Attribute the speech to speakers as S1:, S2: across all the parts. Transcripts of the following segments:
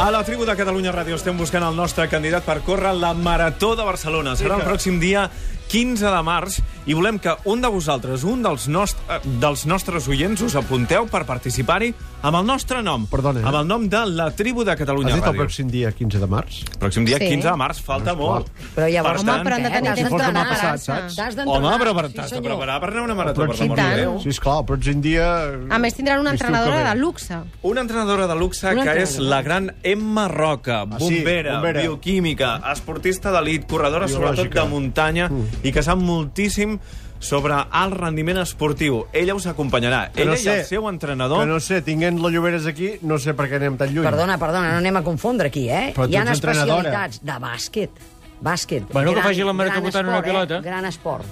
S1: A la tribu de Catalunya Ràdio estem buscant el nostre candidat per córrer la Marató de Barcelona. Serà el pròxim dia 15 de març i volem que un de vosaltres, un dels, nost eh, dels nostres oients, us apunteu per participar-hi amb el nostre nom.
S2: Perdona, eh?
S1: Amb el nom de la tribu de
S2: Has
S1: Catalunya
S2: dit el
S1: Ràdio.
S2: pròxim dia 15 de març?
S1: Pròxim dia
S3: Sí.
S1: 15 de març, falta molt.
S3: Però
S1: Per
S3: llavors,
S4: Home,
S1: tant,
S4: però han de tenir
S3: eh,
S4: temps
S3: com si fos
S4: d'entrenar.
S3: demà passat, saps?
S4: T'has
S1: Home,
S4: d'entrenar.
S1: però per, t'has de
S4: senyor.
S1: preparar per anar a una marató, per
S2: Pròxim-
S1: l'amor de
S3: tant.
S1: Déu.
S2: Sí, esclar, el pròxim dia...
S3: A més, tindran una
S2: L'estiu que
S3: entrenadora
S2: ve.
S3: de luxe.
S1: Una entrenadora de luxe
S3: Una
S1: que és
S3: entrenadora.
S1: la gran Emma Roca,
S2: Ah, sí,
S1: bombera,
S2: bombera.
S1: bioquímica, esportista d'elit, corredora
S2: Biològica. Mm.
S1: sobretot de muntanya i que sap moltíssim sobre el rendiment esportiu. Ella us acompanyarà.
S2: Que
S1: Ella i el seu entrenador...
S2: Que no sé, tinguent la Lloberes aquí, no sé per què anem tan lluny.
S4: Perdona, perdona, no anem a confondre aquí, eh?
S2: Però tu
S4: Hi ha
S2: ets entrenadora.
S4: especialitats de bàsquet. Bàsquet.
S5: Bueno, que faci la marató
S4: gran
S5: votant una
S4: esport,
S5: pilota.
S4: Eh? Gran esport.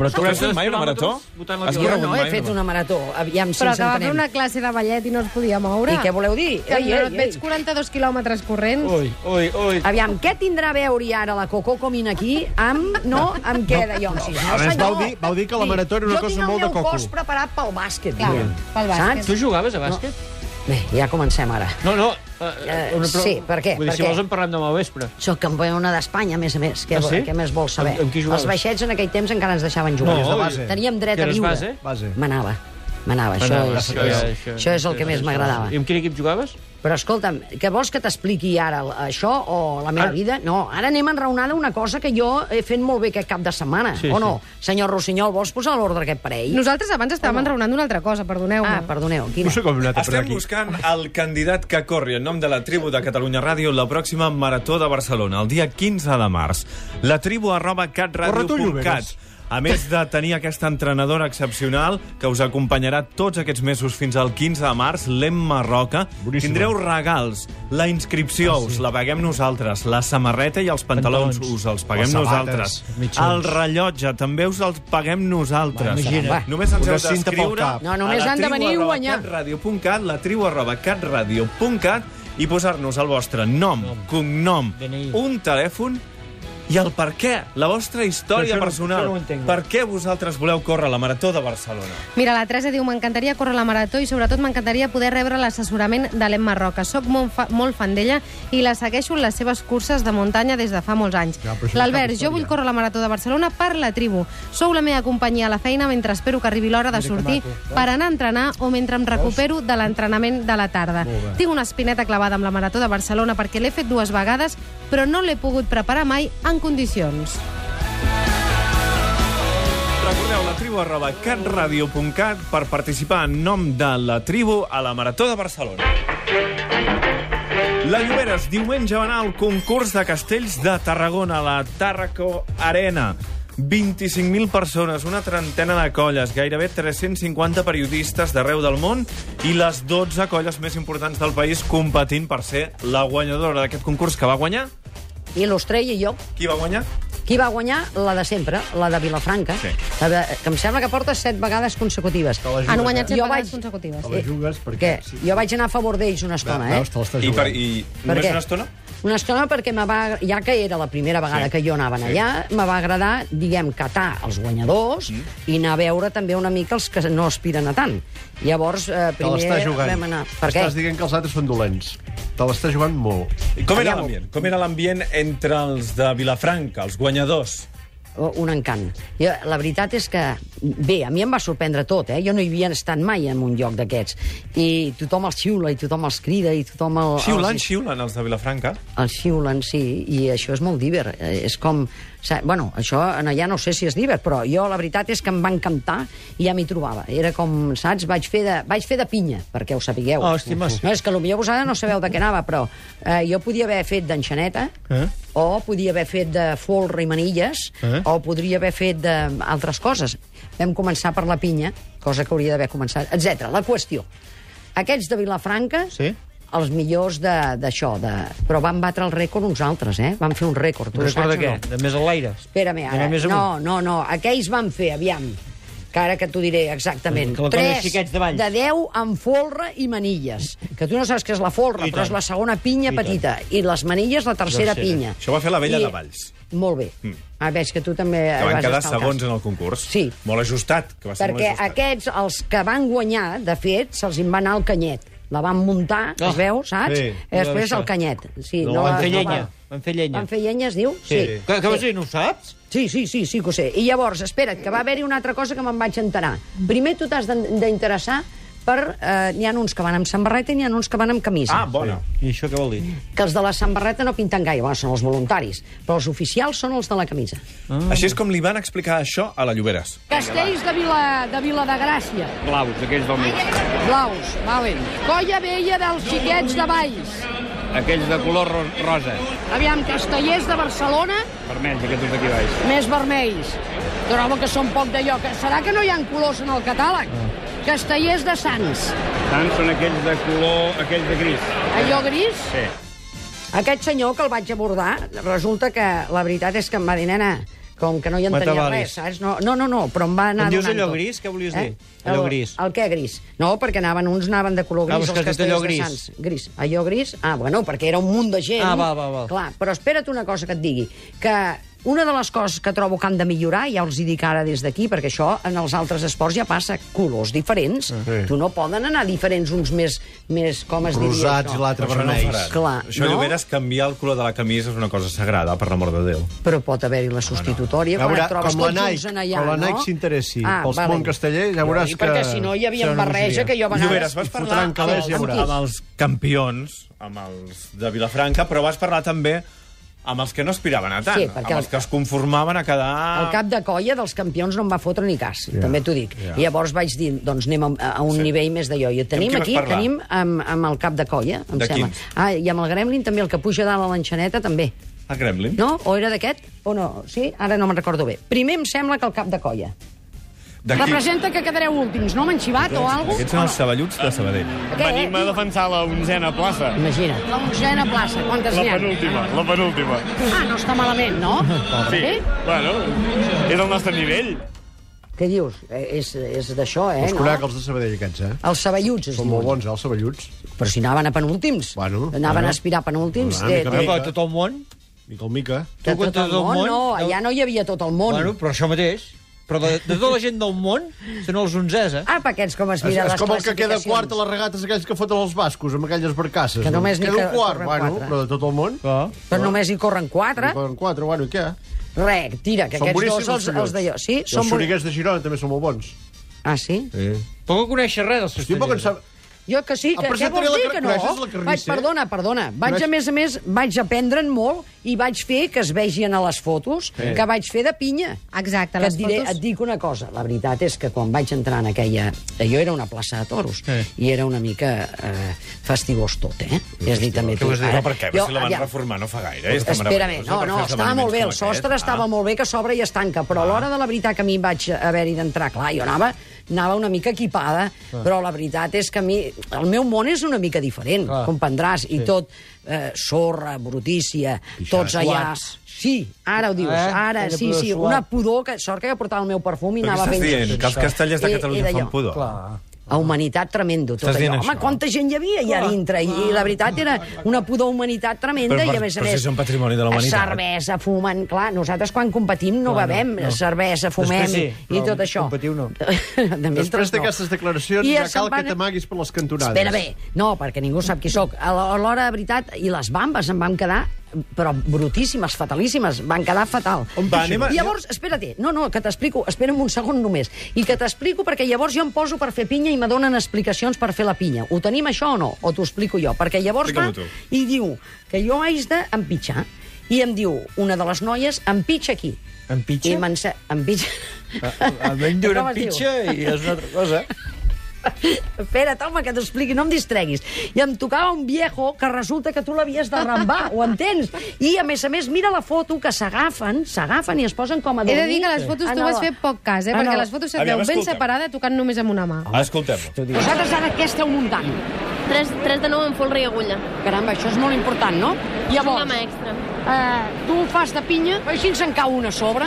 S5: Però
S1: tu has fet mai una marató?
S5: Votant la
S1: Has
S4: Jo
S1: corregut
S5: pilota.
S4: no he fet una marató. Aviam si
S3: Però
S4: ens
S3: que va fer
S4: entenem.
S3: una classe de ballet i no es podia moure.
S4: I què voleu dir?
S3: Que ei, ei, veig 42 quilòmetres corrents.
S5: Ui, ui, ui.
S4: Aviam, què tindrà a veure ara la Coco Comin aquí amb... No, amb què, de jo? Sí,
S2: a més, vau dir- vau dir que la marató era una cosa molt de
S4: Jo tinc el meu
S2: coco.
S4: cos preparat pel bàsquet.
S3: Clar,
S4: diguem.
S3: pel bàsquet.
S5: Tu jugaves a bàsquet?
S4: Saps? Bé, ja comencem ara.
S5: No, no.
S4: Eh, sí, per què?
S5: Vull dir,
S4: Per
S5: si
S4: què?
S5: vols en parlem demà al vespre.
S4: Sóc campiona d'Espanya, a més a més. Què,
S5: Ah,
S4: vol-
S5: sí?
S4: què més vols saber?
S5: Amb- amb qui jugaves?
S4: Els baixets en aquell temps encara ens deixaven jugar.
S5: No,
S2: de base.
S4: Teníem dret
S5: Que
S4: a
S5: eres
S4: viure.
S5: base?
S2: Base.
S4: M'anava. M'anava. Això,
S5: Anava,
S4: és, això, és, això és el que més
S5: això. I
S4: m'agradava.
S5: amb quin equip jugaves?
S4: Però escolta'm, que vols que t'expliqui ara el- això o la meva
S5: Ara-
S4: vida? No, ara anem enraonada una cosa que jo he fet molt bé aquest cap de setmana,
S5: Sí,
S4: o no? Senyor Rossinyol, vols posar a l'ordre aquest parell?
S3: Nosaltres abans estàvem enraonant d'una altra cosa, perdoneu-me.
S4: Ah, perdoneu,
S2: No
S4: quina?
S2: sé com hem anat a parar
S1: Estem
S2: aquí.
S1: buscant el candidat que corri en nom de la tribu de Catalunya Ràdio la pròxima Marató de Barcelona, el dia 15 de març. La tribu arroba
S2: Corre tu,
S1: catradio.cat.
S2: Lloberes.
S1: A més de tenir aquesta entrenadora excepcional que us acompanyarà tots aquests mesos fins al 15 de març, l'Emma Roca,
S2: Boníssima. Ah,
S1: tindreu regals, la inscripció us la paguem nosaltres, la samarreta i els pantalons
S5: Pantalons.
S1: us els paguem
S2: Les sabates,
S1: nosaltres,
S5: mitjons.
S1: el rellotge també us el paguem nosaltres.
S5: Va, imagina't.
S1: Només ens
S2: Una
S1: heu
S2: cinta pel
S1: d'escriure
S2: cap.
S4: No, només
S1: a la
S4: han de
S1: tribu
S4: venir i
S1: arroba
S4: guanyar.
S1: catradio.cat, la tribu arroba catradio.cat i posar-nos el vostre nom, cognom,
S5: DNI.
S1: un telèfon i el per què, la vostra història
S5: Això no-
S1: personal.
S5: això no ho entenc.
S1: per què vosaltres voleu córrer la Marató de Barcelona?
S3: Mira, la Teresa diu, m'encantaria córrer la marató i sobretot m'encantaria poder rebre l'assessorament de l'Emma Roca. Soc molt, fa, molt fan d'ella i la segueixo en les seves curses de muntanya des de fa molts anys.
S2: Ja, però això
S3: L'Albert,
S2: és cap
S3: jo vull córrer la marató de Barcelona per la tribu. Sou la meva companyia a la feina mentre espero que arribi l'hora de sortir
S2: eh?
S3: per anar a entrenar o mentre em recupero de l'entrenament de la tarda. Tinc una espineta clavada amb la marató de Barcelona perquè l'he fet dues vegades però no l'he pogut preparar mai en condicions.
S1: Recordeu la tribu arroba catradio.cat per participar en nom de la tribu a la Marató de Barcelona. La Lloberes diumenge va anar al concurs de castells de Tarragona a la Tarraco Arena. 25.000 persones, una trentena de colles, gairebé 350 periodistes d'arreu del món i les 12 colles més importants del país competint per ser la guanyadora d'aquest concurs que va guanyar.
S4: I l'Ostrell i jo.
S1: Qui va guanyar?
S4: Qui va guanyar? La de sempre, la de Vilafranca,
S1: Sí.
S4: la de, que em sembla que porta set vegades consecutives. Ah,
S2: la
S3: Han guanyat set
S4: Jo
S3: vegades
S4: vaig-
S3: consecutives.
S2: Te la jugues perquè...
S4: Perquè jo vaig anar a favor d'ells una estona, eh?
S2: Veus, te l'estàs
S1: I, per,
S2: jugant.
S1: i
S4: Per
S1: només
S4: què?
S1: una estona?
S4: Una estona perquè me va, ja que era la primera vegada
S1: Sí.
S4: que jo anava
S1: Sí.
S4: allà, me va agradar, diguem, catar els guanyadors mm. i anar a veure també una mica els que no aspiren a tant. Llavors, eh,
S2: Te l'estàs
S4: primer
S2: jugant.
S4: vam anar... Per què?
S2: Estàs dient que els altres són dolents. Te l'estàs jugant molt.
S1: I Com era l'ambient? Com era l'ambient entre els de Vilafranca, els guanyadors?
S4: O- un encant. Jo, la veritat és que, bé, a mi em va sorprendre tot, eh? Jo no hi havia estat mai en un lloc d'aquests. I tothom els xiula, i tothom els crida, i tothom... El,
S1: Xiulant,
S4: els,
S1: xiulant els de Vilafranca.
S4: els xiulen, sí, i això és molt diver. Eh, És com... sa- Bueno, això en allà no sé si és diver, però jo la veritat és que em va encantar i ja m'hi trobava. Era com, saps, vaig fer de, vaig fer de pinya, perquè ho sapigueu.
S5: Ah, hòstia, mas.
S4: No, és que potser vosaltres no sabeu de què anava, però eh, jo podia haver fet d'enxaneta, eh? o podia haver fet de folre i manilles, eh? o podria haver fet d'altres coses. Vam començar per la pinya, cosa que hauria d'haver començat, etc. La qüestió. Aquests de Vilafranca,
S5: Sí.
S4: els millors de- d'això, de, però van batre el rècord uns altres, eh? Van fer un rècord, tu
S5: Un
S4: ho
S5: record
S4: saps
S5: de
S4: o
S5: què?
S4: no?
S5: De més a l'aire?
S4: Espera-me, ara.
S5: D'anar més
S4: No,
S5: amunt?
S4: no, no. Aquells van fer, aviam, que ara que t'ho diré exactament.
S5: Que la cosa és xiquets de Valls.
S4: de 10 amb folre i manilles. Que tu no saps què és la folre,
S5: I
S4: però és
S5: tant.
S4: la segona pinya
S5: I
S4: petita. I les manilles, la
S5: Tercera.
S4: tercera pinya.
S1: Això va fer la Vella de Valls.
S4: Molt bé. Ah, veig que tu també
S1: Que van
S4: vas
S1: quedar
S4: estar al
S1: segons
S4: cas.
S1: en el concurs.
S4: Sí.
S1: Molt ajustat, que va ser
S4: Perquè
S1: molt ajustat.
S4: aquests, els que van guanyar, de fet, se'ls en va anar al canyet. la van muntar,
S5: Ah.
S4: es veu, saps?
S2: Sí,
S4: I després
S1: això.
S4: el canyet. Sí,
S2: No,
S4: no,
S2: van
S4: la-
S5: Van fer
S4: no
S5: llenya.
S4: va-
S5: Van fer llenya.
S4: Van fer llenya, es diu? Sí.
S5: Que, que vols dir, no ho saps?
S4: Sí, sí, sí, sí que ho sé. I llavors, espera't, que va haver-hi una altra cosa que me'n vaig enterar. Primer tu t'has d'en- d'interessar per... Eh, n'hi ha uns que van amb samarreta i n'hi ha uns que van amb camisa.
S1: Ah, bona.
S5: I això què vol dir?
S4: Que els de la samarreta no pinten gaire, bueno, són els voluntaris, però els oficials són els de la camisa.
S1: Mm. Així és com li van explicar això a la Lloberes.
S6: Castells de Vila, de Vila de Gràcia.
S5: Blaus, aquells del mig.
S6: Blaus, valen. Colla vella dels xiquets de Valls.
S5: Aquells de color ro rosa.
S6: Aviam, castellers de Barcelona,
S5: Vermells, aquests d'aquí baix.
S6: més vermells. Trobo que són poc d'allò. Que- Serà que no hi ha colors en el catàleg? Castellers de Sants.
S5: Tant són aquells de color... aquells de gris.
S6: Allò gris?
S5: Sí.
S4: Aquest senyor que el vaig abordar, resulta que la veritat és que em va dir, nena, com que no hi entenia
S5: M'atabalis.
S4: res, saps? No, no, no, no, però em va anar
S5: Em dius
S4: donant
S5: allò
S4: tot. Eh?
S5: gris? Què volies dir? Allò
S4: El,
S5: gris.
S4: El què gris? No, perquè anaven, uns anaven de color
S5: Ah,
S4: gris,
S5: però és
S4: els
S5: que has dit
S4: castells
S5: allò
S4: de
S5: gris.
S4: Sants. Gris. Allò gris? Ah, bueno, perquè era un munt de gent.
S5: Ah, val, val, val.
S4: Clar, però espera't una cosa que et digui, que una de les coses que trobo que han de millorar, ja els hi dic ara des d'aquí, perquè això en els altres esports ja passa, colors diferents.
S2: Sí.
S4: Tu no poden anar diferents uns més, més com es diria
S2: Rosats
S4: això?
S2: i l'altre
S1: Això no ho faran.
S2: vermells.
S4: Clar,
S1: Això,
S4: no?
S1: Lloberes, canviar el color de la camisa és una cosa sagrada, per l'amor de Déu.
S4: però pot haver-hi la substitutòria
S2: Ja
S4: quan
S2: veurà,
S4: et trobes
S2: com la
S4: tots
S2: Nike,
S4: junts en allà,
S2: com la
S4: no? Ah,
S2: Nike s'interessi pels món castellers, ja veuràs
S4: Sí, perquè
S2: que
S4: si no hi havia
S2: serà una
S4: barreja
S2: bogeria.
S4: que jo a vegades...
S1: Lloberes, vas
S2: hi
S1: parlar
S2: fotran
S1: amb,
S2: calés, ja
S1: els,
S2: veuràs.
S1: amb els campions, amb els de Vilafranca, però vas parlar també amb els que no aspiraven a tant,
S4: Sí,
S1: amb
S4: perquè el-
S1: els que es conformaven a quedar...
S4: El cap de colla dels campions no em va fotre ni cas, també t'ho dic.
S1: ja.
S4: I Llavors vaig dir, doncs anem a, a un
S1: Sí.
S4: nivell més d'allò. I
S1: qui
S4: tenim
S1: vas
S4: aquí,
S1: parlar?
S4: tenim amb, amb el cap de colla, em
S1: De
S4: sembla.
S1: quins?
S4: Ah, i amb el gremlin també, el que puja dalt a l'enxaneta també.
S1: A Kremlin.
S4: No? O era d'aquest? O no? Sí? Ara no me'n recordo bé. Primer em sembla que el cap de colla.
S1: D'aquí.
S6: Representa que quedareu últims, no? Manxivat o alguna
S1: Aquests són els saballuts de Sabadell.
S7: Venim a defensar la onzena plaça.
S4: Imagina't.
S6: La onzena plaça, quantes
S7: La
S6: n'hi ha?
S7: penúltima, la penúltima.
S6: Ah, no està malament, no?
S7: Sí, bueno, és el nostre nivell.
S4: Què dius? Eh, És, és d'això, eh?
S2: Els
S4: no?
S2: conec, els de Sabadell, aquests, eh?
S4: Els saballuts, es
S2: Són
S4: diuen.
S2: molt bons, eh, els saballuts.
S4: Però si anaven a penúltims.
S2: Bueno,
S4: anaven
S2: bueno.
S4: a aspirar a penúltims.
S2: Una mica
S5: Però
S2: Vinga.
S5: per tot el món?
S2: Mica en mica.
S5: Tu
S4: de tot
S5: contra
S4: el món, no, allà no hi havia tot el món.
S5: Bueno, però això mateix. Però de, de tota la gent del món, són els 11, eh?
S4: Ah, pa, aquests com
S2: És,
S4: es mira
S2: és
S4: les
S2: com el que queda
S4: classificacions.
S2: quart a les regates aquells que foten els bascos, amb aquelles barcasses.
S4: Que
S2: no?
S4: només n'hi
S2: queda un
S4: que-
S2: quart,
S4: corren
S2: bueno,
S4: quatre.
S2: però de tot el món.
S5: Ah.
S4: Però només hi corren quatre.
S2: en Poden quatre, bueno, i què?
S4: Re, tira, que
S2: Són
S4: aquests
S2: boníssims,
S4: dos els,
S2: senyor.
S4: els d'allò. Sí,
S2: I els
S4: boni-
S2: xuriguers de Girona també són molt bons.
S4: Ah, sí?
S2: Sí.
S5: Tampoc coneixes res dels
S2: Estic poc en
S5: castellers.
S2: sap...
S4: Jo que sí,
S2: Ah,
S4: que,
S2: però
S4: què
S2: si
S4: vols
S2: tenia la
S4: dir
S2: car-
S4: que no?
S2: coneixes la
S4: Vaig,
S2: carnisser?
S4: perdona, perdona. Vaig,
S2: Coneixes-
S4: a més a més, vaig aprendre'n molt i vaig fer que es vegin a les fotos que vaig fer de pinya.
S3: Exacte,
S4: que
S3: les
S4: et, diré,
S3: fotos-
S4: et dic una cosa, la veritat és que quan vaig entrar en aquella... Jo era una plaça de toros
S5: Eh.
S4: i era una mica eh, fastigós tot, eh? És a dir, també...
S5: Què vols dir?
S1: Però per què?
S4: Jo,
S1: Si la van
S4: aviam,
S1: reformar no fa gaire. eh? Està
S4: Espera-me,
S1: meravellosa per
S4: no, no,
S1: fer els
S4: estava molt bé, el
S1: esdeveniments com
S4: sostre
S1: aquest. Ah.
S4: estava molt bé, que s'obre i es tanca, però a l'hora de la veritat que a mi em vaig haver-hi d'entrar, clar, jo anava, anava una mica equipada,
S1: Ah.
S4: però la veritat és que a mi, el meu món és una mica diferent,
S5: Clar.
S4: comprendràs, i tot, eh, sorra, brutícia, tots allà...
S5: Guants.
S4: Sí, ara ho dius,
S5: Eh?
S4: ara,
S5: Aquella
S4: sí,
S5: pudor
S4: sí,
S5: suau.
S4: una pudor, que sort que jo portava el meu perfum i
S1: Però
S4: anava Eh,
S1: què estàs
S4: fent...
S1: dient? Que els castellers de
S4: I- i
S1: Catalunya
S4: d'allò.
S1: fan pudor?
S5: Clar.
S4: A humanitat tremendo, tot
S1: Estàs dient
S4: allò.
S1: això?
S4: Home, quanta gent hi havia allà
S5: Ah.
S4: dintre, i, i la veritat era una pudor humanitat tremenda,
S1: Però per-
S4: i a més a
S1: però si
S4: més...
S1: és un patrimoni de la humanitat.
S4: Cervesa, fumant... Clar, nosaltres quan competim no bevem cervesa, fumem
S5: Després sí,
S4: i
S5: però
S4: tot això.
S5: competiu no.
S4: De
S2: Després
S4: mentres no.
S2: d'aquestes declaracions
S4: I
S2: ja
S4: se'n
S2: cal que
S4: van-
S2: t'amaguis per les cantonades.
S4: Espera bé, no, perquè ningú sap qui sóc. A la- a l'hora de veritat, i les bambes em van quedar però brutíssimes, fatalíssimes, van quedar fatal.
S1: Va, anem a-
S4: I llavors, espérate, no, no, que t'explico, espera'm un segon només, i que t'explico perquè llavors jo em poso per fer pinya i me donen explicacions per fer la pinya. Ho tenim això o no? O t'ho explico jo? Perquè llavors va
S1: Explica-m'ho tu.
S4: i diu que jo haig d'empitxar, i em diu, una de les noies, empitxa aquí.
S5: Empitxa?
S4: I m'ense- empitxa...
S1: Ah,
S5: Almenys diu
S4: Com
S5: una
S4: es diu?
S5: pitxa i és una altra cosa.
S4: Espera't, home, que t'expliqui, no em distreguis. I em tocava un viejo que resulta que tu l'havies d'arrambar, ho entens? I, a més a més, mira la foto que s'agafen, s'agafen i es posen com a
S3: He
S4: dormir.
S3: de dir que les fotos
S6: Ah,
S4: en
S3: tu
S4: el-
S3: vas fer poc cas, eh?
S4: en
S3: Perquè
S4: el-
S3: les fotos se't
S1: Aviam,
S3: veu ben
S1: escolta'm.
S3: separada tocant només amb una mà.
S1: Escoltem-ho.
S6: Vosaltres ara què esteu muntant?
S8: 3, 3 de 9 amb folre i agulla.
S6: Caramba, això és molt important, no?
S8: És una mà extra.
S6: eh, tu fas de pinya, així ens en cau una a sobre.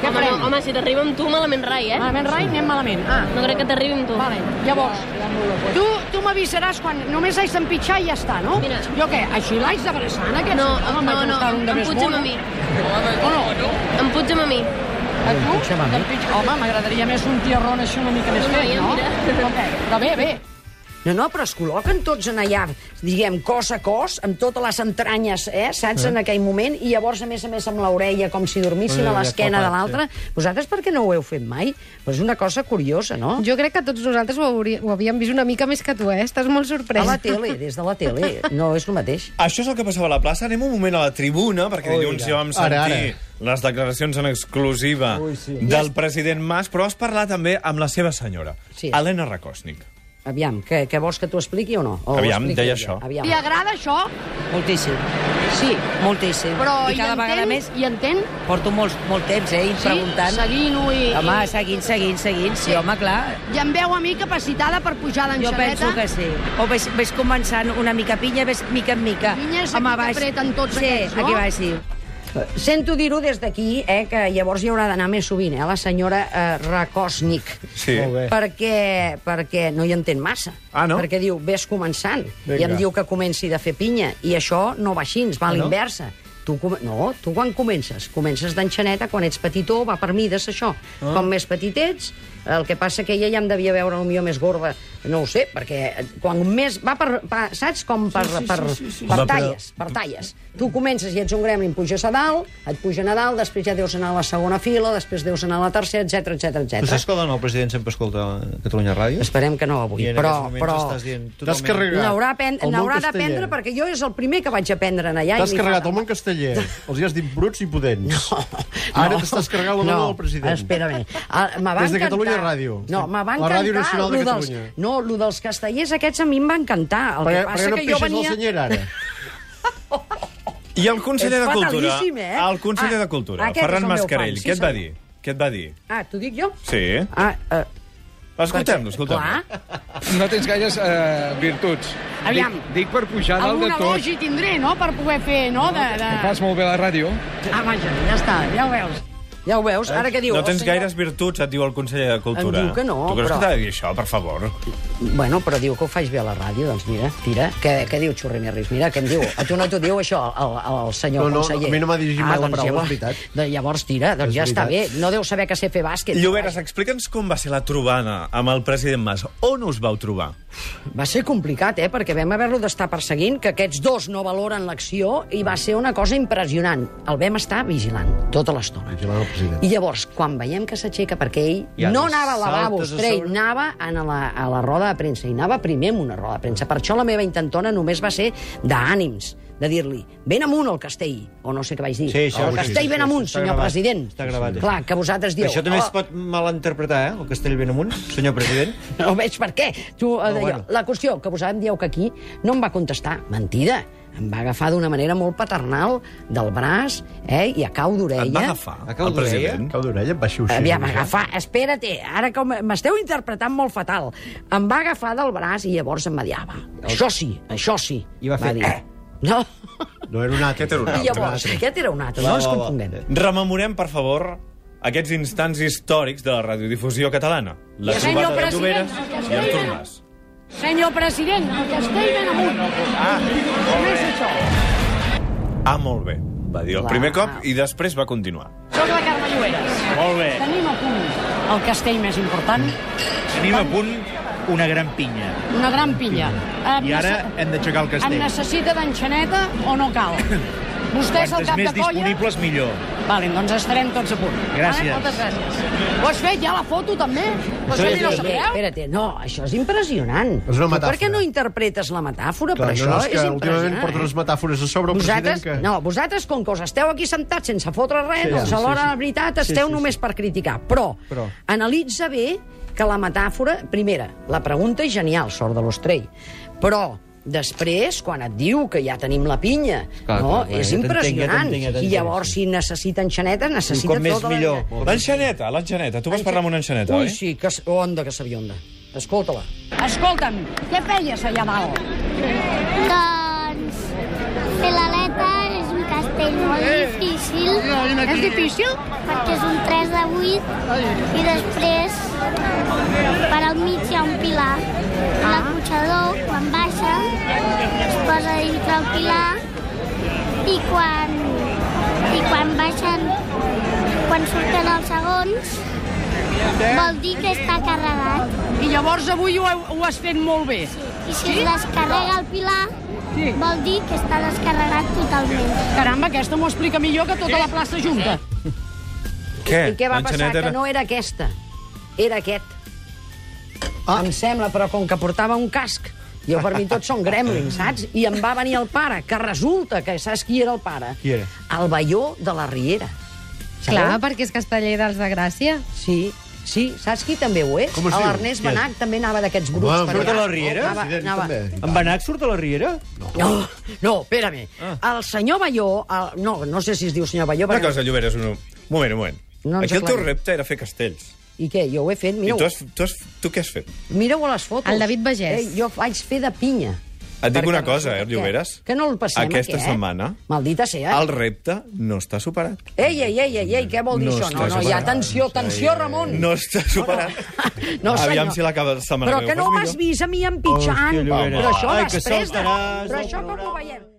S6: Què
S8: Home,
S6: farem?
S8: no, home, si t'arriba amb tu, malament rai, eh?
S6: Malament, rai, anem malament. Ah,
S8: No crec que t'arribi amb tu.
S6: vale. Llavors,
S3: Ah,
S6: tu, tu m'avisaràs quan només haig d'empitxar i ja està, no?
S8: Mira.
S6: Jo què, així l'haig de braçar, en aquest?
S8: No,
S6: Home, em
S8: no,
S6: vaig
S8: no,
S6: buscar un de
S8: em
S6: més
S8: putxa'm
S6: mono.
S8: a mi.
S6: O no?
S8: Em putxa'm a mi.
S6: A tu? D'empitxar- Home, m'agradaria més un tiarrón així una mica més
S8: No,
S6: fet,
S8: ja,
S6: no?
S8: mira.
S6: Però què? Però bé, bé.
S4: No, no, però es col·loquen tots en allà, diguem, cos a cos, amb totes les entranyes, eh, saps, en aquell moment, i llavors, a més a més, amb l'orella, com si
S6: Eh,
S4: dormissin a l'esquena de l'altre. Vosaltres per què no ho heu fet mai? Però és una cosa curiosa, no?
S3: Jo crec que tots nosaltres ho, hauria, ho havíem vist una mica més que tu, eh? Estàs molt
S4: A
S3: sorprès.
S4: la tele, des de la tele, no és el mateix.
S1: Això és el que passava a la plaça. Anem un moment a la tribuna, perquè dilluns ja vam sentir
S2: Ara,
S1: les declaracions en exclusiva
S2: Ui, sí.
S1: del president Mas, però has parlat també amb la seva senyora,
S4: Sí.
S1: Helena Rakosnik.
S4: Aviam, que, que vols que t'ho expliqui o no? O ho
S1: Aviam,
S4: explico
S1: deia
S4: jo?
S1: això.
S4: Aviam.
S6: Li agrada això,
S9: Moltíssim,
S6: sí,
S9: moltíssim.
S6: però
S9: I cada
S6: hi
S9: vegada
S6: entén,
S9: més
S6: hi entén,
S9: porto molt, molt temps, eh,
S6: sí,
S9: preguntant.
S6: seguint-ho i...
S9: Home, seguint, seguint, seguint. Sí,
S6: Sí.
S9: home, clar.
S6: i, I em veu a mi capacitada per pujar
S9: Jo
S6: l'enxaneta.
S9: penso que sí. O ves, ves començant una mica pinya, ves mica en mica.
S6: Pinya és aquí que apreten tots
S9: sí,
S6: aquests, no?
S9: aquí baix, sí.
S4: Sento dir-ho des d'aquí, eh, que llavors hi haurà d'anar més sovint, eh, la senyora eh, Rakosnik.
S1: Sí.
S2: Molt bé.
S4: Perquè, perquè no hi entén massa.
S1: Ah, no?
S4: Perquè diu, ves començant.
S2: Vinga.
S4: I em diu que comenci de fer pinya. I això Ah, no va així, va a l'inversa. Tu, com- no, tu quan comences? Comences d'enxaneta, quan ets petitó, va per mides, això. Ah. Com més petit ets, el que passa que ella ja em devia veure potser més gorda, no ho sé, perquè eh, quan més... Va per, va, saps? Com per, sí, sí, per, sí, sí, sí. per
S1: Home, però-
S4: talles per talles. Tu comences i ets un gremlin, puges a dalt, et pugen a dalt, després ja deus anar a la segona fila, després deus anar a la tercera, etc etc
S5: Tu saps
S4: etc.
S5: que el no, el president sempre escolta Catalunya Ràdio?
S4: Esperem que no avui,
S5: I en aquests
S4: però...
S5: moments
S4: però...
S5: estàs dient
S2: T'has
S5: totalment...
S2: carregat.
S4: N'haurà apen-
S2: el món
S4: n'haurà
S2: casteller.
S4: d'aprendre perquè jo és el primer que vaig aprendre en allà. i
S2: T'has
S4: li
S2: carregat
S4: fa-
S2: el món casteller. Els hi has dit bruts i pudents. Ara t'estàs carregant la dona del president.
S4: Espera-me. Ah, me va
S2: Des de
S4: encantar.
S2: Catalunya Ràdio.
S4: No, me
S2: La
S4: va encantar.
S2: Ràdio Nacional de
S4: lo
S2: Catalunya.
S4: Dels, no, lo dels castellers aquests a mi em va encantar. El
S2: Per, per
S4: que
S2: què
S4: passa
S2: no
S4: que jo
S2: pixes venia...
S4: venia...
S2: la senyera ara?
S1: I el conseller
S4: És
S1: de Cultura,
S4: fatalíssim, eh?
S1: el conseller
S4: Ah,
S1: de Cultura,
S4: aquest és
S1: Ferran
S4: el meu
S1: Mascarell,
S4: fan, sí,
S1: què et va dir?
S4: senyor.
S1: Què et va dir?
S4: Ah, t'ho dic jo?
S1: Sí.
S4: Ah, eh,
S1: Escoltem-lo, escoltem-lo.
S4: clar.
S10: No tens gaires eh, virtuts.
S6: Aviam.
S10: Dic, dic per pujar dalt de
S6: Alguna
S10: tot.
S6: elogi tindré, no?, per poder fer, no?, de... de...
S10: Fas molt bé la ràdio.
S6: Ah, vaja, ja està, ja ho veus.
S4: Ja ho veus? Ara què diu? "Oh,
S1: No
S4: El
S1: tens
S4: senyor-
S1: gaires virtuts, et diu el conseller de Cultura.
S4: Em diu que no,
S1: Tu creus
S4: però-
S1: que t'ha de dir això, per favor?
S4: Bueno, però diu que ho faig bé a la ràdio, doncs mira, tira. Què, què diu Xurrimerris? Mira, què em diu? A tu no t'ho diu això, el, el senyor
S2: No, no,
S4: conseller. Ah,
S2: a mi no m'ha dirigit mai la paraula, és
S4: llavors,
S2: veritat.
S4: Doncs llavors tira, doncs
S2: És
S4: ja està bé.
S2: veritat.
S4: No deu saber que sé fer bàsquet.
S1: Lloberes, explica'ns com va ser la trobada amb el president Mas. On us vau trobar?
S4: Va ser complicat, eh?, perquè vam haver-lo d'estar perseguint, que aquests dos no valoren l'acció, i va ser una cosa impressionant. El vam estar vigilant tota l'estona.
S2: Vigilant el president.
S4: I llavors, quan veiem que s'aixeca, perquè ell
S5: Ja
S4: ja no
S5: li
S4: anava al lavabo,
S5: saltes a
S4: straight,
S5: sobre.
S4: anava a la, a la roda de premsa, i anava primer amb una roda de premsa. Per això la meva intentona només va ser d'ànims, de dir-li, ben amunt al castell, o no sé què vaig dir.
S5: Sí, això-
S4: el
S5: sí,
S4: castell
S5: sí,
S4: ben
S5: sí,
S4: amunt,
S5: està
S4: senyor
S5: gravat.
S4: president.
S5: Està gravat,
S4: Clar, que vosaltres dieu...
S5: Això també
S4: "Oh,
S5: es pot malinterpretar, eh? El castell ben amunt, senyor president.
S4: No veig per què. Tu, no, deia,
S5: bueno.
S4: bueno. La qüestió, que vosaltres em dieu que aquí no em va contestar. Mentida. Em va agafar d'una manera molt paternal del braç eh, i a cau d'orella.
S1: Et va agafar
S5: A cau
S1: el president?
S2: Cau d'orella, em baixo així.
S4: Aviam, agafar... Espera't, ara que m'esteu interpretant molt fatal. Em va agafar del braç i llavors em va dir, ah, va, això sí, això sí.
S5: I va fer, eh.
S4: No,
S2: eh? No, era un altre.
S1: Aquest era un
S4: i llavors, aquest era un altre, no ens confonguem.
S1: Rememorem, per favor, aquests instants històrics de la radiodifusió catalana. La
S6: Sí, senyor
S1: trobada de
S6: president,
S1: Lloberes
S6: el
S1: i
S6: castell
S1: Artur
S6: ben-
S1: Mas.
S6: Senyor president, el castell ben amunt. Ah. Com és això?
S1: Ah, molt bé, va dir el
S4: Clar.
S1: primer cop i després va continuar.
S6: Soc la Carme Lloberes.
S7: Molt bé.
S6: Tenim a punt el castell més important,
S11: Tenim a punt una gran pinya.
S6: una gran pilla. Em
S11: I ara
S6: nece-
S11: hem d'aixecar el
S6: Em
S11: castell.
S6: necessita d'enxaneta o no cal? Vostè és el
S11: Quantes
S6: cap
S11: més
S6: de colla?
S11: disponibles, millor.
S6: Vale, doncs estarem tots a punt.
S11: Gràcies.
S6: Vale, moltes gràcies. Ho has fet ja la foto, també? Ho has
S4: Sí,
S6: fet i no
S4: sí,
S6: sabeu?
S4: espera't, no, això és impressionant.
S2: És una
S4: Tu per
S2: metàfora.
S4: què no interpretes la metàfora?
S2: Clar,
S4: però
S2: no,
S4: això
S2: no, és que
S4: és
S2: últimament
S4: impressionant.
S2: porta unes metàfores a sobre el
S4: Vosaltres,
S2: president que...
S4: no, vosaltres, com que us esteu aquí sentats sense fotre res,
S2: Sí,
S4: sí, doncs
S2: sí,
S4: a
S2: sí,
S4: l'hora de
S2: sí.
S4: la veritat esteu sí, sí, només per criticar. Però,
S5: Però.
S4: Però analitza bé que la metàfora... Primera, la pregunta és genial, sort de l'ostrell. Però després, quan et diu que ja tenim la pinya,
S5: Clar,
S4: no?
S5: clar, clar,
S4: és
S5: ja t'entenc, ja
S4: impressionant.
S5: t'entenc, ja t'entenc,
S4: I llavors, si necessita enxaneta, necessita
S5: Com més
S4: tota
S5: millor.
S4: la...
S1: L'enxaneta, l'enxaneta. Tu vas parlar amb una enxaneta,
S4: Ui,
S1: oi?
S4: sí, que s- oh, onda, que sabionda. Escolta-la.
S6: Escolta'm, què feies allà dalt?
S12: Doncs fer l'aleta és un castell molt difícil
S6: És difícil?
S12: perquè és un 3 de 8 i després per al mig hi ha un pilar.
S10: Ah.
S12: L'acotxador, quan baixa, es posa dintre el pilar i quan, i quan baixen, quan surten els segons, vol dir que està carregat.
S6: I llavors avui ho, heu- ho has fet molt bé.
S12: I si es descarrega el pilar, vol dir que està descarregat totalment.
S6: Caramba, aquesta m'ho explica millor que tota la plaça junta.
S1: Què?
S11: Eh,
S4: I què va passar?
S1: L'enxaneta
S4: Que no era aquesta. Era aquest. Ah. Em sembla, però com que portava un casc, jo per mi tots són gremlins, saps? I em va venir el pare, que resulta que saps qui era el pare?
S2: Qui era?
S4: El veió de la Riera.
S3: Clar,
S4: Sabeu?
S3: perquè és casteller dels de Gràcia.
S4: Sí, sí. Saps qui també ho és?
S11: Com es diu?
S4: L'Ernest
S11: Qui és?
S4: Benach també anava d'aquests grups.
S11: Home,
S4: per
S11: surt
S4: allà.
S11: de la Riera?
S4: Anava,
S11: Sí,
S4: anava.
S11: també. En Benac surt de la Riera?
S4: No, no, espérame.
S11: Ah.
S4: El senyor Velló... El, no, no sé si es diu senyor Velló.
S1: Una
S4: perquè-
S1: cosa, Lloberes, un moment, un moment.
S4: No ens
S1: Aquí el teu
S4: aclarim.
S1: repte era fer castells.
S4: I què? Jo ho he fet,
S1: I
S4: mireu.
S1: tu, has, tu, has, tu què has fet?
S4: Mireu a les fotos.
S3: El David Bagés.
S4: Eh, jo vaig fer de pinya.
S1: Et dic
S4: Perquè
S1: una cosa, eh,
S4: resulta que-
S1: Lloberes.
S4: que no el passem,
S1: Aquesta
S4: aquest.
S1: setmana
S4: Maldita sea. eh?
S1: el repte no està superat.
S4: Ei, ei, ei, ei, ei, què vol dir
S1: No
S4: no això?
S1: està
S4: No, no, hi ha
S1: superat.
S4: tensió, tensió, Ramon.
S1: No està superat.
S4: No, senyor.
S1: Aviam si la cada setmana
S4: Però
S1: ho
S4: que
S1: fas
S4: no
S1: millor.
S4: m'has vist a mi empitjant.
S1: Hòstia, Lloberes.
S4: Però això
S1: Ai, que
S4: després de...
S1: saltaràs
S4: Però
S1: del
S4: això com ho veiem?